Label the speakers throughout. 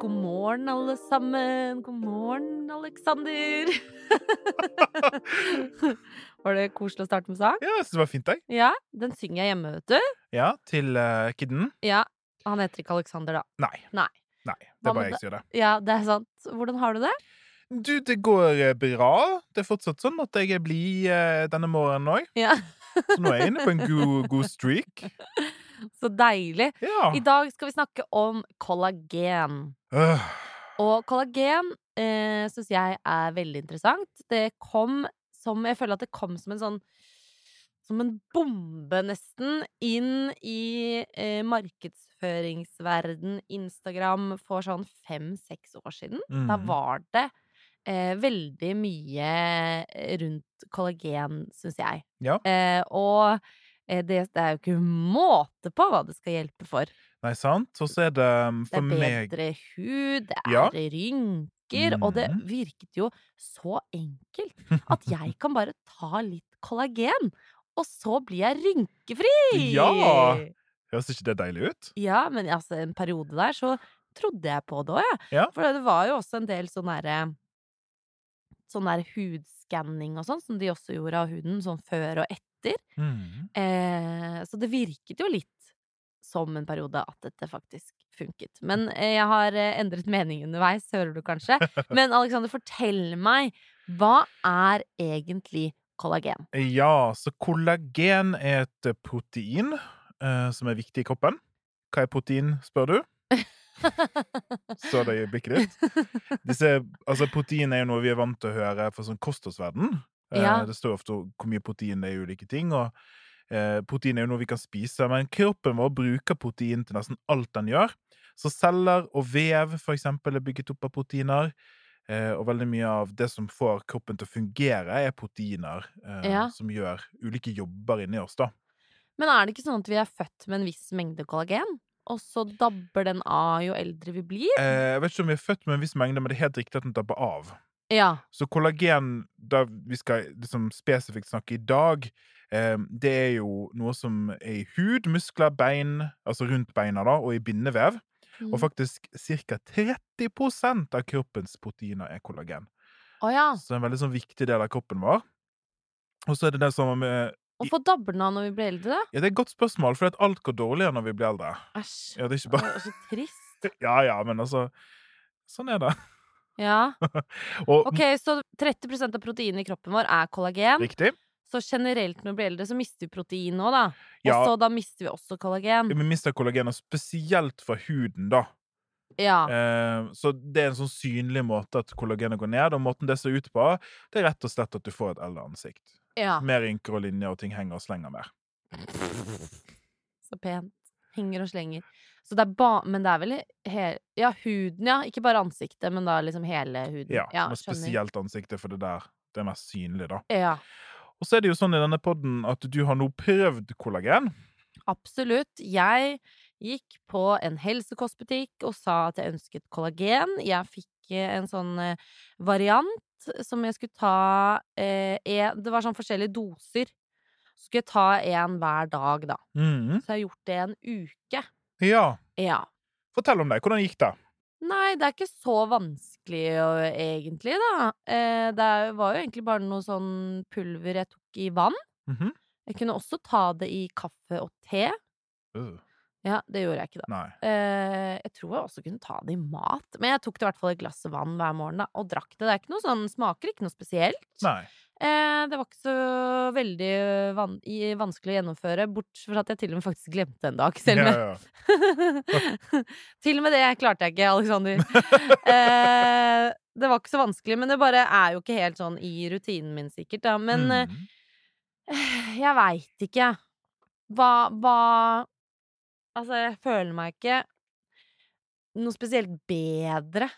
Speaker 1: God morgen, alle sammen. God morgen, Aleksander. var det koselig å starte med sang?
Speaker 2: Ja, jeg synes det var fint, jeg.
Speaker 1: Ja, den synger jeg hjemme, vet du.
Speaker 2: Ja, til eh, kidden.
Speaker 1: Ja, Han heter ikke Aleksander, da.
Speaker 2: Nei.
Speaker 1: Nei.
Speaker 2: Nei, det
Speaker 1: Hva
Speaker 2: er bare
Speaker 1: med
Speaker 2: jeg som gjør det.
Speaker 1: Ja, det er sant. Hvordan har du det?
Speaker 2: Du, det går eh, bra. Det er fortsatt sånn at jeg er blid eh, denne morgenen òg.
Speaker 1: Ja,
Speaker 2: Så nå er jeg inne på en god, god streak.
Speaker 1: Så deilig.
Speaker 2: Ja.
Speaker 1: I dag skal vi snakke om kollagen.
Speaker 2: Øh,
Speaker 1: Og kollagen eh, syns jeg er veldig interessant. Det kom som Jeg føler at det kom som en sånn Som en bombe, nesten, inn i eh, markedsføringsverden, Instagram, for sånn fem-seks år siden. Da
Speaker 2: mhm.
Speaker 1: var det eh, veldig mye eh, rundt kollagen, syns jeg.
Speaker 2: Ja.
Speaker 1: Eh, og eh, det, det er jo ikke måte på hva det skal hjelpe for.
Speaker 2: Nei, sant? Og så er det um,
Speaker 1: Det
Speaker 2: for
Speaker 1: er
Speaker 2: meg
Speaker 1: bedre hud, det er
Speaker 2: Ja.
Speaker 1: rynker, og det
Speaker 2: Mhm.
Speaker 1: virket jo så enkelt at jeg kan bare ta litt kollagen, og så blir jeg rynkefri!
Speaker 2: Ja! Høres ikke det deilig ut?
Speaker 1: Ja, men altså, en periode der så trodde jeg på det òg, jeg.
Speaker 2: Ja.
Speaker 1: For det var jo også en del sånn derre Sånn der hudskanning og sånn, som de også gjorde av huden, sånn før og etter.
Speaker 2: Mhm.
Speaker 1: Eh, så det virket jo litt som en periode at dette faktisk funket. Men eh, jeg har eh, endret mening underveis, hører du kanskje. Men Alexander, fortell meg, hva er egentlig kollagen?
Speaker 2: Ja, så kollagen er et eh, protein eh, som er viktig i kroppen. Hva er protein, spør du? Så det i blikket ditt. Disse, altså, protein er jo noe vi er vant til å høre fra sånn kostholdsverden. Eh,
Speaker 1: Ja.
Speaker 2: Det står ofte hvor mye protein det er i ulike ting. og eh, Protein er jo noe vi kan spise, men kroppen vår bruker protein til nesten alt den gjør. Så celler og vev for eksempel, er bygget opp av proteiner. Eh, og veldig mye av det som får kroppen til å fungere, er proteiner eh,
Speaker 1: Ja.
Speaker 2: som gjør ulike jobber inni oss. da.
Speaker 1: Men er det ikke sånn at vi er født med en viss mengde kollagen, og så dabber den av jo eldre vi blir?
Speaker 2: Eh, jeg vet ikke om vi er født med en viss mengde, men det er helt riktig at den dabber av.
Speaker 1: Ja.
Speaker 2: Så kollagen, da vi skal liksom spesifikt snakke i dag, eh, det er jo noe som er i hud, muskler, bein, altså rundt beina da, og i bindevev.
Speaker 1: Mm.
Speaker 2: Og faktisk ca. 30 av kroppens proteiner er kollagen.
Speaker 1: Å ja.
Speaker 2: Så det er en veldig sånn viktig del av kroppen vår. Og så er det det som med
Speaker 1: Hvorfor dabber den av når vi blir eldre? da?
Speaker 2: Ja, det er et godt spørsmål, for alt går dårligere når vi blir eldre.
Speaker 1: Æsj.
Speaker 2: Ja, det er ikke
Speaker 1: Det
Speaker 2: bare
Speaker 1: er så trist.
Speaker 2: Ja ja, men altså Sånn er det.
Speaker 1: Ja.
Speaker 2: Og
Speaker 1: Ok, så 30 av proteinet i kroppen vår er kollagen.
Speaker 2: riktig.
Speaker 1: Så generelt når vi blir eldre, så mister vi protein nå, da. Og
Speaker 2: Ja.
Speaker 1: så da mister vi også kollagen.
Speaker 2: Vi mister kollagen, og spesielt fra huden, da.
Speaker 1: Ja.
Speaker 2: Eh, Så det er en sånn synlig måte at kollagenet går ned, og måten det ser ut på, det er rett og slett at du får et eldre ansikt.
Speaker 1: ja.
Speaker 2: Mer rynker og linjer, og ting henger og slenger mer.
Speaker 1: Så pent. Henger og slenger. Så det er ba men det er vel he Ja, huden, ja. Ikke bare ansiktet, men da liksom hele huden.
Speaker 2: Ja, men
Speaker 1: skjønner.
Speaker 2: spesielt ansiktet, for det der det er mest synlig, da.
Speaker 1: Ja,
Speaker 2: Og så er det jo sånn i denne podden at du har nå prøvd kollagen.
Speaker 1: absolutt. Jeg gikk på en helsekostbutikk og sa at jeg ønsket kollagen. Jeg fikk eh, en sånn eh, variant som jeg skulle ta eh, en, Det var sånn forskjellige doser. Så skulle jeg ta en hver dag, da.
Speaker 2: Mhm.
Speaker 1: Så jeg har gjort det en uke.
Speaker 2: Ja.
Speaker 1: Ja.
Speaker 2: Fortell om det. Hvordan gikk det?
Speaker 1: Nei, det er ikke så vanskelig å- egentlig, da. Eh, Det er- var jo egentlig bare noe sånn pulver jeg tok i vann.
Speaker 2: Mhm.
Speaker 1: Jeg kunne også ta det i kaffe og te.
Speaker 2: Øh,
Speaker 1: Ja, det gjorde jeg ikke, da.
Speaker 2: Nei.
Speaker 1: Eh, Jeg tror jeg også kunne ta det i mat. Men jeg tok det i hvert fall i et glass vann hver morgen da, og drakk det. Det er ikke noe sånn, smaker ikke noe spesielt.
Speaker 2: Nei.
Speaker 1: Eh, Det var ikke så veldig van i- vanskelig å gjennomføre, bortsett fra at jeg til og med faktisk glemte en dag. Selv om jeg
Speaker 2: Ja, ja.
Speaker 1: Til og med det klarte jeg ikke, Aleksander. eh, det var ikke så vanskelig, men det bare er jo ikke helt sånn i rutinen min, sikkert. Da. Men eh,
Speaker 2: Mhm.
Speaker 1: jeg veit ikke. Hva, hva Altså, jeg føler meg ikke noe spesielt bedre,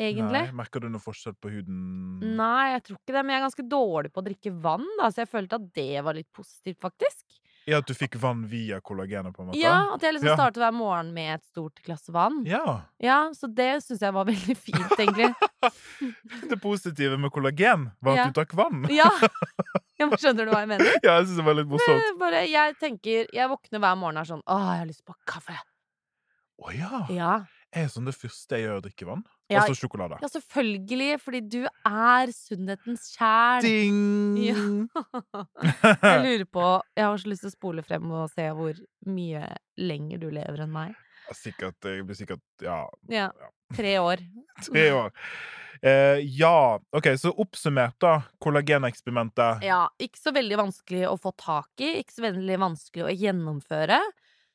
Speaker 1: egentlig.
Speaker 2: Nei. Mm. Merker du noe forskjell på huden?
Speaker 1: Nei. jeg tror ikke det. Men jeg er ganske dårlig på å drikke vann, da, så jeg følte at det var litt positivt, faktisk.
Speaker 2: Ja, at du fikk vann via kollagenet, på en måte?
Speaker 1: Ja, At jeg liksom
Speaker 2: Ja.
Speaker 1: starter hver morgen med et stort glass vann.
Speaker 2: ja.
Speaker 1: Ja, så det syns jeg var veldig fint, egentlig.
Speaker 2: Det positive med kollagen var at
Speaker 1: Ja.
Speaker 2: du drakk vann.
Speaker 1: Ja! Ja, men skjønner du hva jeg mener?
Speaker 2: Ja, jeg synes det var litt morsomt.
Speaker 1: Jeg Bare, jeg tenker, jeg våkner hver morgen og er sånn Åh, jeg har lyst på kaffe.
Speaker 2: Å ja.
Speaker 1: Ja.
Speaker 2: er sånn det første jeg gjør, drikke vann.
Speaker 1: Ja.
Speaker 2: Altså sjokolade.
Speaker 1: Ja, selvfølgelig, fordi du er sunnhetens kjern.
Speaker 2: Ding!
Speaker 1: Jeg lurer på Jeg har så lyst til å spole frem og se hvor mye lenger du lever enn meg.
Speaker 2: sikkert, eh, jeg blir sikkert Ja,
Speaker 1: Ja. Tre år.
Speaker 2: tre år. Eh, ja. OK, så oppsummert, da. Kollageneksperimentet.
Speaker 1: Ja, ikke så veldig vanskelig å få tak i. Ikke så veldig vanskelig å gjennomføre.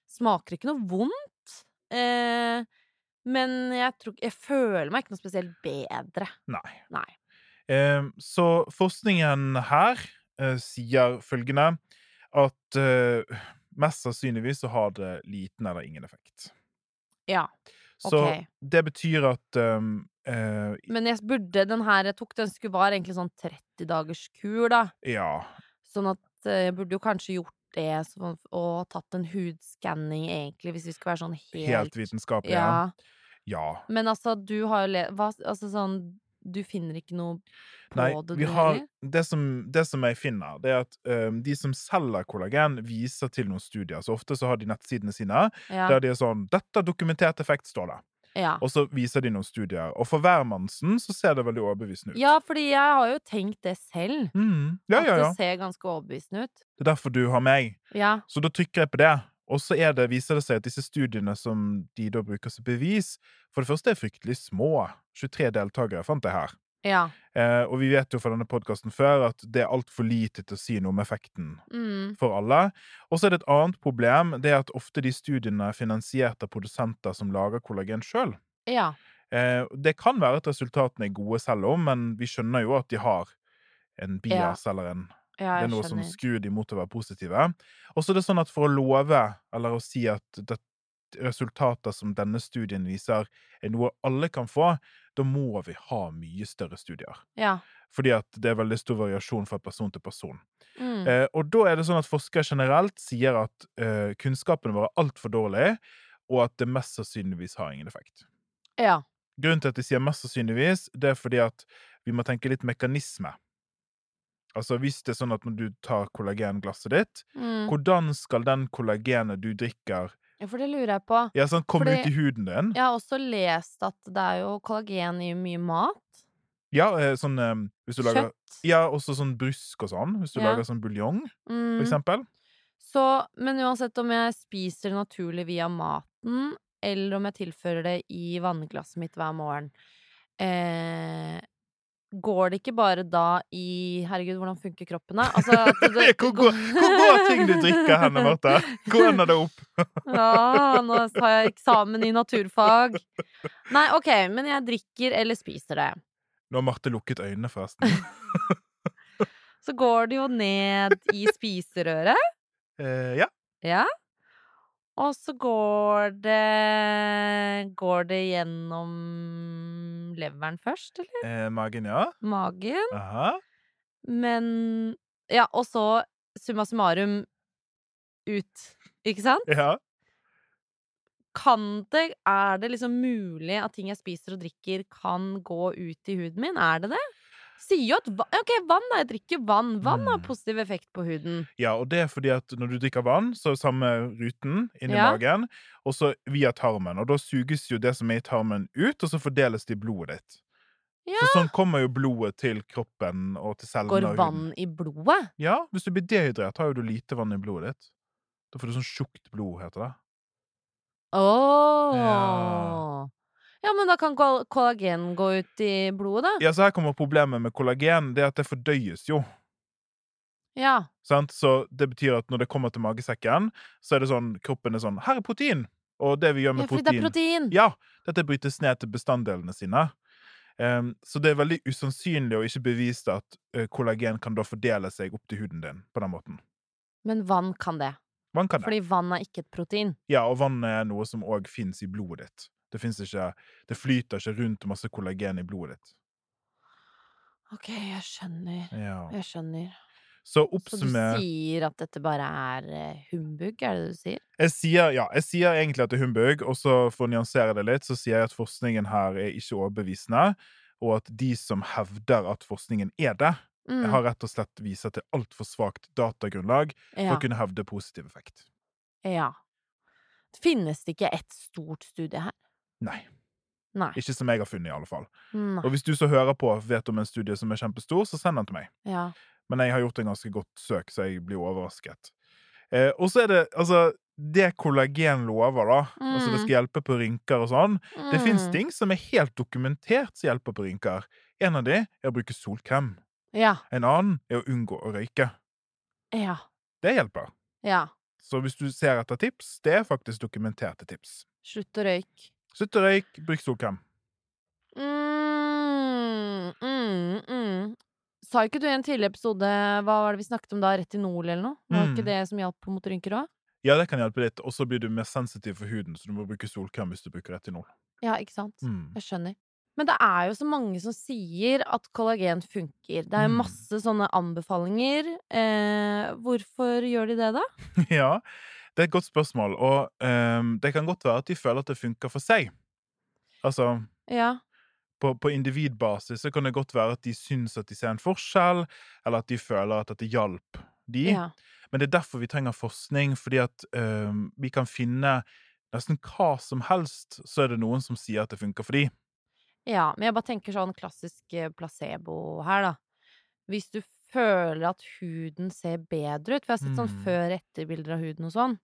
Speaker 1: Smaker ikke noe vondt. Eh, men jeg, tror, ikke- jeg føler meg ikke noe spesielt bedre.
Speaker 2: Nei.
Speaker 1: Nei.
Speaker 2: Eh, så forskningen her eh, sier følgende at eh, mest sannsynligvis så har det liten eller ingen effekt.
Speaker 1: Ja,
Speaker 2: Så
Speaker 1: ok.
Speaker 2: det betyr at um, eh,
Speaker 1: Men jeg burde den her jeg tok, den skulle var egentlig sånn 30 dagers kur, da.
Speaker 2: Ja.
Speaker 1: Sånn at eh, jeg burde jo kanskje gjort det sånn, og tatt en hudskanning, egentlig, hvis vi skal være sånn helt,
Speaker 2: Helt vitenskapelig.
Speaker 1: ja.
Speaker 2: Ja. ja.
Speaker 1: Men altså, du har jo le... Hva, altså sånn Du finner ikke noe på
Speaker 2: Nei,
Speaker 1: det?
Speaker 2: vi
Speaker 1: du
Speaker 2: har,
Speaker 1: heller?
Speaker 2: det, som, det som jeg finner, det er at um, de som selger kollagen, viser til noen studier. Så ofte så har de nettsidene sine
Speaker 1: Ja.
Speaker 2: der de er sånn 'Dette er dokumentert effekt', står det.
Speaker 1: ja.
Speaker 2: Og så viser de noen studier. Og for hvermannsen så ser det veldig overbevisende ut.
Speaker 1: Ja, fordi jeg har jo tenkt det selv.
Speaker 2: Mm. ja, ja, ja.
Speaker 1: At det ser ganske overbevisende ut.
Speaker 2: Det er derfor du har meg.
Speaker 1: Ja.
Speaker 2: Så da trykker jeg på det. Og så er det, viser det seg at disse studiene som de da bruker som bevis, for det første er fryktelig små. 23 deltakere fant jeg her.
Speaker 1: Ja.
Speaker 2: Eh, og vi vet jo fra denne podkasten før at det er altfor lite til å si noe om effekten
Speaker 1: Mm.
Speaker 2: for alle. Og så er det et annet problem, det er at ofte de studiene er finansiert av produsenter som lager kollagen sjøl.
Speaker 1: Ja.
Speaker 2: Eh, det kan være at resultatene er gode selv om, men vi skjønner jo at de har en bias eller en
Speaker 1: Ja,
Speaker 2: Det er
Speaker 1: jeg
Speaker 2: noe som
Speaker 1: skjønner.
Speaker 2: skrur de mot å være positive. Og så er det sånn at for å love, eller å si at det, resultater som denne studien viser, er noe alle kan få, da må vi ha mye større studier.
Speaker 1: Ja.
Speaker 2: Fordi at det er veldig stor variasjon fra person til person.
Speaker 1: Mm.
Speaker 2: Eh, og da er det sånn at forskere generelt sier at eh, kunnskapen vår er altfor dårlig, og at det mest sannsynligvis har ingen effekt.
Speaker 1: ja.
Speaker 2: Grunnen til at de sier mest sannsynligvis, det er fordi at vi må tenke litt mekanisme. Altså hvis det er sånn at når du tar kollagenglasset ditt,
Speaker 1: Mm.
Speaker 2: hvordan skal den kollagenet du drikker,
Speaker 1: Ja, For det lurer jeg på.
Speaker 2: ja, sånn, komme
Speaker 1: Fordi-
Speaker 2: ut i huden din?
Speaker 1: Jeg har også lest at det er jo kollagen i mye mat.
Speaker 2: Ja, eh, sånn eh, hvis du lager
Speaker 1: Kjøtt.
Speaker 2: Ja, også sånn brusk og sånn, hvis du
Speaker 1: Ja.
Speaker 2: lager sånn buljong, for
Speaker 1: Mm.
Speaker 2: eksempel.
Speaker 1: Så, men uansett om jeg spiser det naturlig via maten, eller om jeg tilfører det i vannglasset mitt hver morgen, eh, går det ikke bare da i Herregud, hvordan funker kroppen, da? Altså, at det-
Speaker 2: Hvor går- hvor går ting du drikker hen, Marte? Hvor ender det opp?
Speaker 1: Ja, nå har jeg eksamen i naturfag. Nei, OK, men jeg drikker eller spiser det.
Speaker 2: Nå har Marte lukket øynene, forresten.
Speaker 1: Så går det jo ned i spiserøret.
Speaker 2: Eh, ja.
Speaker 1: Ja. Og så går det Går det gjennom leveren først, eller?
Speaker 2: Eh, magen, ja.
Speaker 1: Magen.
Speaker 2: Aha.
Speaker 1: Men Ja, og så summa summarum ut. Ikke sant?
Speaker 2: Ja.
Speaker 1: Kan det Er det liksom mulig at ting jeg spiser og drikker, kan gå ut i huden min? Er det det? Sier jo at va- OK, vann, da. Jeg drikker vann. Vann har
Speaker 2: Mm.
Speaker 1: positiv effekt på huden.
Speaker 2: Ja, og det er fordi at når du drikker vann, så er samme ruten inni
Speaker 1: Ja.
Speaker 2: magen, og så via tarmen. Og da suges jo det som er i tarmen, ut, og så fordeles det i blodet ditt.
Speaker 1: Ja.
Speaker 2: Så sånn kommer jo blodet til kroppen og til cellene.
Speaker 1: Går
Speaker 2: og huden.
Speaker 1: vann i blodet?
Speaker 2: Ja, hvis du blir dehydrert, har jo du lite vann i blodet ditt. Da får du sånn tjukt blod, heter det.
Speaker 1: Åh Ja, men da kan kol- kollagen gå ut i blodet, da.
Speaker 2: Ja, så her kommer problemet med kollagen, det er at det fordøyes jo.
Speaker 1: Ja.
Speaker 2: Sant? Så det betyr at når det kommer til magesekken, så er det sånn, kroppen er sånn, her er protein! Og det vi gjør
Speaker 1: ja
Speaker 2: med
Speaker 1: fordi det er
Speaker 2: protein...
Speaker 1: protein.
Speaker 2: Ja, dette brytes ned til bestanddelene sine. Ehm, så det er veldig usannsynlig og ikke bevist at eh, kollagen kan da fordele seg opp til huden din på den måten.
Speaker 1: Men vann kan det.
Speaker 2: Vann kan det.
Speaker 1: Fordi vann er ikke et protein.
Speaker 2: Ja, og vann er noe som òg fins i blodet ditt. Det, finnes ikke, det flyter ikke rundt masse kollagen i blodet ditt.
Speaker 1: Ok, jeg skjønner.
Speaker 2: Ja.
Speaker 1: Jeg skjønner.
Speaker 2: Så
Speaker 1: Så du
Speaker 2: oppsummer
Speaker 1: sier at dette bare er eh, humbug, er det det du sier?
Speaker 2: jeg sier, ja, jeg sier egentlig at det er humbug, og så for å nyansere det litt, så sier jeg at forskningen her er ikke overbevisende, og at de som hevder at forskningen er det,
Speaker 1: Mm,
Speaker 2: har rett og slett viser til altfor svakt datagrunnlag for
Speaker 1: ja.
Speaker 2: å kunne hevde positiv effekt.
Speaker 1: ja. Finnes det ikke ett stort studie her?
Speaker 2: Nei.
Speaker 1: Nei.
Speaker 2: Ikke som jeg har funnet, i alle fall.
Speaker 1: Nei.
Speaker 2: Og hvis du som hører på vet om en studie som er kjempestor, så send den til meg.
Speaker 1: Ja.
Speaker 2: Men jeg har gjort en ganske godt søk, så jeg blir overrasket. Eh, og så er det altså Det kollagen lover, da. Altså det
Speaker 1: Mm.
Speaker 2: skal hjelpe på rynker og sånn. Det fins
Speaker 1: Mm.
Speaker 2: ting som er helt dokumentert som hjelper på rynker. En av de er å bruke solkrem.
Speaker 1: Ja.
Speaker 2: En annen er å unngå å røyke.
Speaker 1: Ja.
Speaker 2: Det hjelper.
Speaker 1: ja.
Speaker 2: Så hvis du ser etter tips, det er faktisk dokumenterte tips.
Speaker 1: Slutt å røyke.
Speaker 2: Slutt å røyke, bruk solkrem.
Speaker 1: Mm, mm, mm. Sa ikke du i en tidligere episode Hva var det vi snakket om da? Retinol eller noe? Var
Speaker 2: Mm.
Speaker 1: ikke det som hjalp mot rynker òg?
Speaker 2: Ja, det kan hjelpe litt, og så blir du mer sensitiv for huden, så du må bruke solkrem hvis du bruker retinol.
Speaker 1: Ja, ikke sant?
Speaker 2: Mm.
Speaker 1: Jeg skjønner. Men det er jo så mange som sier at kollagen funker. Det er
Speaker 2: Mm.
Speaker 1: jo masse sånne anbefalinger. Eh, hvorfor gjør de det, da?
Speaker 2: Ja, det er et godt spørsmål, og ehm, det kan godt være at de føler at det funker for seg. Altså,
Speaker 1: Ja.
Speaker 2: på, på individbasis så kan det godt være at de syns at de ser en forskjell, eller at de føler at dette hjalp de.
Speaker 1: ja.
Speaker 2: Men det er derfor vi trenger forskning, fordi at ehm, vi kan finne nesten hva som helst, så er det noen som sier at det funker for de.
Speaker 1: Ja, men jeg bare tenker sånn klassisk eh, placebo her, da. Hvis du føler at huden ser bedre ut, for jeg har sett sånn
Speaker 2: Mm.
Speaker 1: før-etter-bilder av huden og sånn.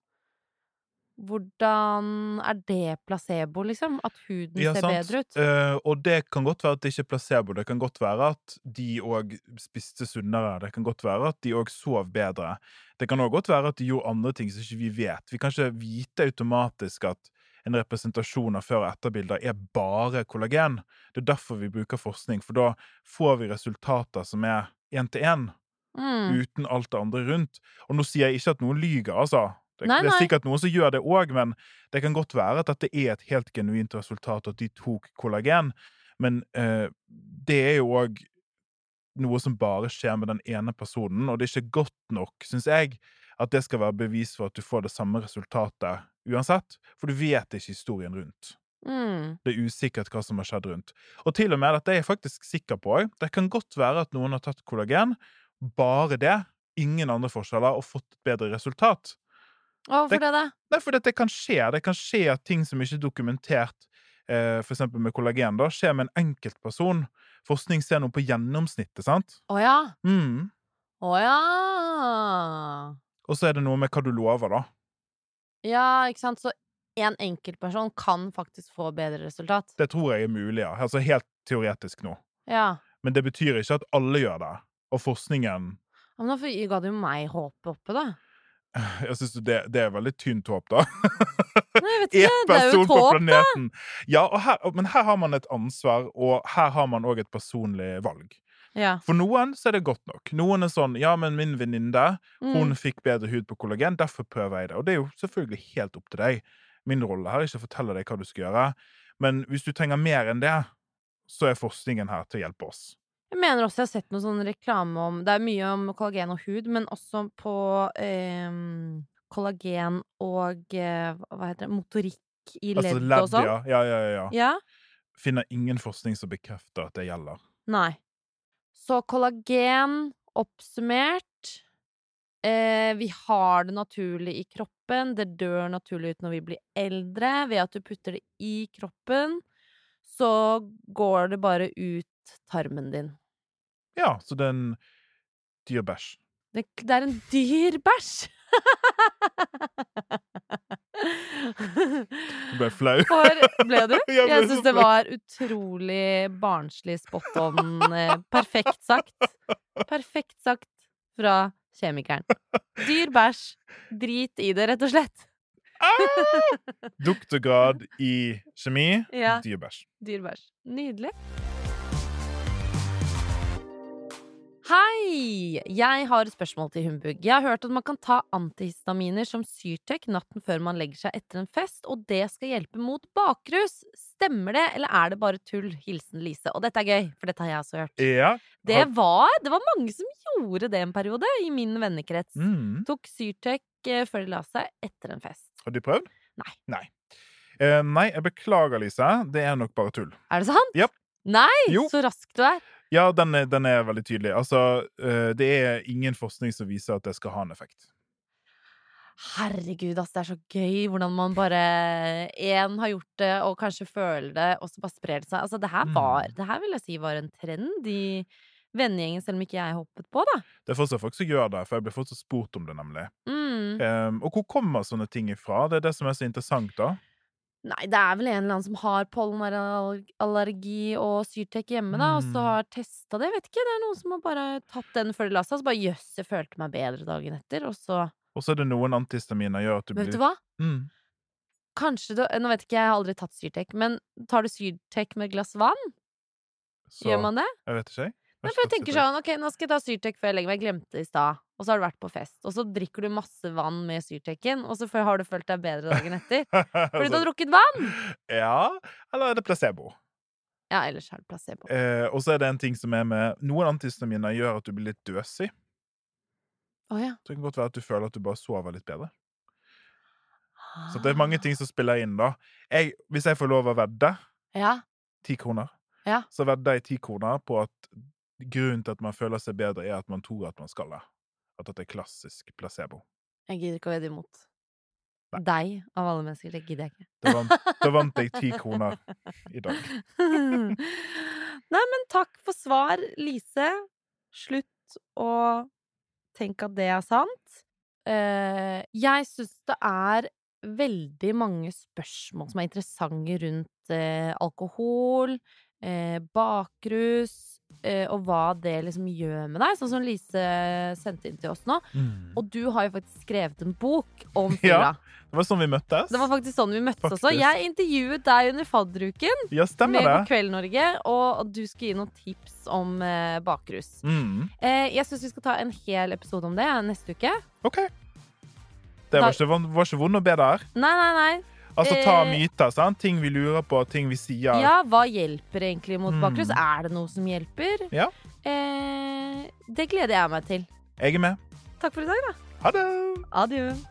Speaker 1: Hvordan er det placebo, liksom? At huden
Speaker 2: Ja,
Speaker 1: ser
Speaker 2: sant.
Speaker 1: bedre ut?
Speaker 2: Eh, og det kan godt være at det ikke er placebo. Det kan godt være at de òg spiste sunnere. Det kan godt være at de òg sov bedre. Det kan òg godt være at de gjorde andre ting som ikke vi vet. Vi kan ikke vite automatisk at en representasjon av før- og etterbilder er bare kollagen. Det er derfor vi bruker forskning, for da får vi resultater som er én til én,
Speaker 1: Mm.
Speaker 2: uten alt det andre rundt. Og nå sier jeg ikke at noen lyger, altså. Det,
Speaker 1: Nei,
Speaker 2: det er
Speaker 1: nei.
Speaker 2: sikkert noen som gjør det òg, men det kan godt være at dette er et helt genuint resultat, at de tok kollagen. Men eh, det er jo òg noe som bare skjer med den ene personen, og det er ikke godt nok, syns jeg, at det skal være bevis for at du får det samme resultatet uansett. For du vet ikke historien rundt.
Speaker 1: Mm.
Speaker 2: Det er usikkert hva som har skjedd rundt. Og til og med dette er jeg faktisk sikker på òg. Det kan godt være at noen har tatt kollagen, bare det, ingen andre forskjeller, og fått et bedre resultat.
Speaker 1: Og hvorfor det, da?
Speaker 2: Nei, for det kan skje. Det kan skje at ting som ikke er dokumentert, eh, for eksempel med kollagen, da, skjer med en enkeltperson. Forskning ser noe på gjennomsnittet, sant?
Speaker 1: Å ja.
Speaker 2: Mm.
Speaker 1: Å ja.
Speaker 2: Og så er det noe med hva du lover, da.
Speaker 1: Ja, ikke sant. Så en enkeltperson kan faktisk få bedre resultat.
Speaker 2: Det tror jeg er mulig, ja. Altså helt teoretisk nå.
Speaker 1: Ja.
Speaker 2: Men det betyr ikke at alle gjør det. Og forskningen
Speaker 1: Ja, Men da ga du jo meg håpet oppe, da.
Speaker 2: Jeg syns det, det er veldig tynt håp, da.
Speaker 1: Nei, jeg vet ikke. Det
Speaker 2: Én
Speaker 1: er jo
Speaker 2: person
Speaker 1: et
Speaker 2: på
Speaker 1: håp.
Speaker 2: planeten! Ja, og her, men her har man et ansvar, og her har man òg et personlig valg.
Speaker 1: Ja.
Speaker 2: For noen så er det godt nok. Noen er sånn 'ja, men min venninne,
Speaker 1: Mm.
Speaker 2: hun fikk bedre hud på kollagen, derfor prøver jeg det'. Og det er jo selvfølgelig helt opp til deg. Min rolle her er ikke å fortelle deg hva du skal gjøre, men hvis du trenger mer enn det, så er forskningen her til å hjelpe oss.
Speaker 1: Jeg mener også jeg har sett noen sånn reklame om Det er mye om kollagen og hud, men også på ehm, kollagen og eh, hva heter det, motorikk i ledd
Speaker 2: Altså
Speaker 1: og
Speaker 2: ledd,
Speaker 1: sånn.
Speaker 2: ja. Ja, ja, ja, ja.
Speaker 1: ja?
Speaker 2: Finner ingen forskning som bekrefter at det gjelder.
Speaker 1: Nei. Så kollagen oppsummert eh, Vi har det naturlig i kroppen. Det dør naturlig ut når vi blir eldre. Ved at du putter det i kroppen, så går det bare ut tarmen din.
Speaker 2: Ja, så det er en dyr bæsj.
Speaker 1: Det, det er en dyr bæsj!
Speaker 2: Du ble flau.
Speaker 1: For ble du?
Speaker 2: Jeg ble
Speaker 1: Jeg
Speaker 2: så
Speaker 1: syns det
Speaker 2: flau.
Speaker 1: var utrolig barnslig spot on. eh, Perfekt sagt. Perfekt sagt fra kjemikeren. Dyr bæsj. Drit i det, rett og slett.
Speaker 2: Doktorgrad i kjemi,
Speaker 1: Ja.
Speaker 2: dyr bæsj.
Speaker 1: Dyr bæsj. Nydelig. Hei! Jeg har et spørsmål til Humbug. Jeg har hørt at man kan ta antihistaminer som Syrtec natten før man legger seg etter en fest, og det skal hjelpe mot bakrus. Stemmer det, eller er det bare tull? Hilsen Lise. Og dette er gøy, for dette har jeg også hørt.
Speaker 2: Ja.
Speaker 1: Det var, det var mange som gjorde det en periode i min vennekrets.
Speaker 2: Mm.
Speaker 1: Tok Syrtec eh, før de la seg etter en fest.
Speaker 2: Har du prøvd?
Speaker 1: Nei.
Speaker 2: Nei. Eh, nei, jeg beklager, Lise. Det er nok bare tull.
Speaker 1: Er det sant?
Speaker 2: Japp.
Speaker 1: Nei,
Speaker 2: Jo.
Speaker 1: så rask du er.
Speaker 2: Ja, den er, den er veldig tydelig. Altså, eh, det er ingen forskning som viser at det skal ha en effekt.
Speaker 1: Herregud, ass, det er så gøy hvordan man bare Én har gjort det, og kanskje føler det, og så bare sprer det seg. Altså, det her
Speaker 2: Mm.
Speaker 1: var Det her vil jeg si var en trend i vennegjengen, selv om ikke jeg hoppet på, da.
Speaker 2: Det er fortsatt folk som gjør det, for jeg ble fortsatt spurt om det, nemlig.
Speaker 1: Mm.
Speaker 2: Ehm, og hvor kommer sånne ting ifra? Det er det som er så interessant, da.
Speaker 1: Nei, det er vel en eller annen som har pollenallergi og Syrtec hjemme, da, og
Speaker 2: Mm.
Speaker 1: så har testa det. Jeg vet ikke, det er noen som har bare tatt den før de la seg, og så bare jøss, jeg følte meg bedre dagen etter, og så
Speaker 2: Og så er det noen antihistaminer gjør at du
Speaker 1: Vet
Speaker 2: blir
Speaker 1: du hva?
Speaker 2: Mm.
Speaker 1: Kanskje du Nå vet ikke, jeg har aldri tatt Syrtec, men tar du Syrtec med et glass vann?
Speaker 2: Så
Speaker 1: Gjør man det?
Speaker 2: jeg vet ikke, jeg. Jeg har
Speaker 1: Nei,
Speaker 2: ikke
Speaker 1: for jeg
Speaker 2: tatt
Speaker 1: tenker
Speaker 2: sitrus.
Speaker 1: sånn, ok, nå skal jeg ta Syrtec før jeg legger meg. Jeg glemte det i stad. Og så har du vært på fest, og så drikker du masse vann med Syrtecen, og så f- har du følt deg bedre dagen etter. sånn. Fordi du har
Speaker 2: Altså,
Speaker 1: drukket vann!
Speaker 2: Ja, eller er det placebo?
Speaker 1: Ja, ellers er det placebo.
Speaker 2: Eh, og så er det en ting som er med Noen antihistaminer gjør at du blir litt døsig.
Speaker 1: Å ja.
Speaker 2: Så det kan godt være at du føler at du bare sover litt bedre. Så det er mange
Speaker 1: Ah.
Speaker 2: ting som spiller inn, da. Jeg, hvis jeg får lov å vedde
Speaker 1: Ja.
Speaker 2: ti kroner,
Speaker 1: Ja.
Speaker 2: så vedder jeg ti kroner på at grunnen til at man føler seg bedre, er at man tror at man skal det. At dette er klassisk placebo.
Speaker 1: Jeg gidder ikke å vedde imot. Deg, av alle mennesker. Det gidder jeg ikke.
Speaker 2: Da vant, da vant jeg ti kroner i dag.
Speaker 1: Nei, men takk for svar, Lise. Slutt å tenke at det er sant. Eh, jeg syns det er veldig mange spørsmål som er interessante rundt eh, alkohol, eh, bakrus, eh, og hva det liksom gjør med deg. Sånn som Lise sendte inn til oss nå. Og du har jo faktisk skrevet en bok om
Speaker 2: Ja.
Speaker 1: fylla.
Speaker 2: Det var sånn vi møttes.
Speaker 1: Det var faktisk sånn vi møttes også.
Speaker 2: Faktisk.
Speaker 1: Jeg intervjuet deg under fadderuken
Speaker 2: Ja,
Speaker 1: med
Speaker 2: stemmer
Speaker 1: God
Speaker 2: det.
Speaker 1: kveld, Norge, og du skulle gi noen tips om eh, bakrus.
Speaker 2: Mm.
Speaker 1: Eh, jeg syns vi skal ta en hel episode om det eh, neste uke.
Speaker 2: OK. Det var ikke, von- var ikke vondt å be der.
Speaker 1: Nei, nei, nei.
Speaker 2: Altså ta
Speaker 1: Eh.
Speaker 2: myter, sant? Ting vi lurer på, ting vi sier.
Speaker 1: Ja, hva hjelper egentlig mot
Speaker 2: Mm.
Speaker 1: bakrus? Er det noe som hjelper?
Speaker 2: Ja.
Speaker 1: Eh, det gleder jeg meg til.
Speaker 2: Jeg er med.
Speaker 1: Takk for i dag, da.
Speaker 2: Ha det!
Speaker 1: Adjø.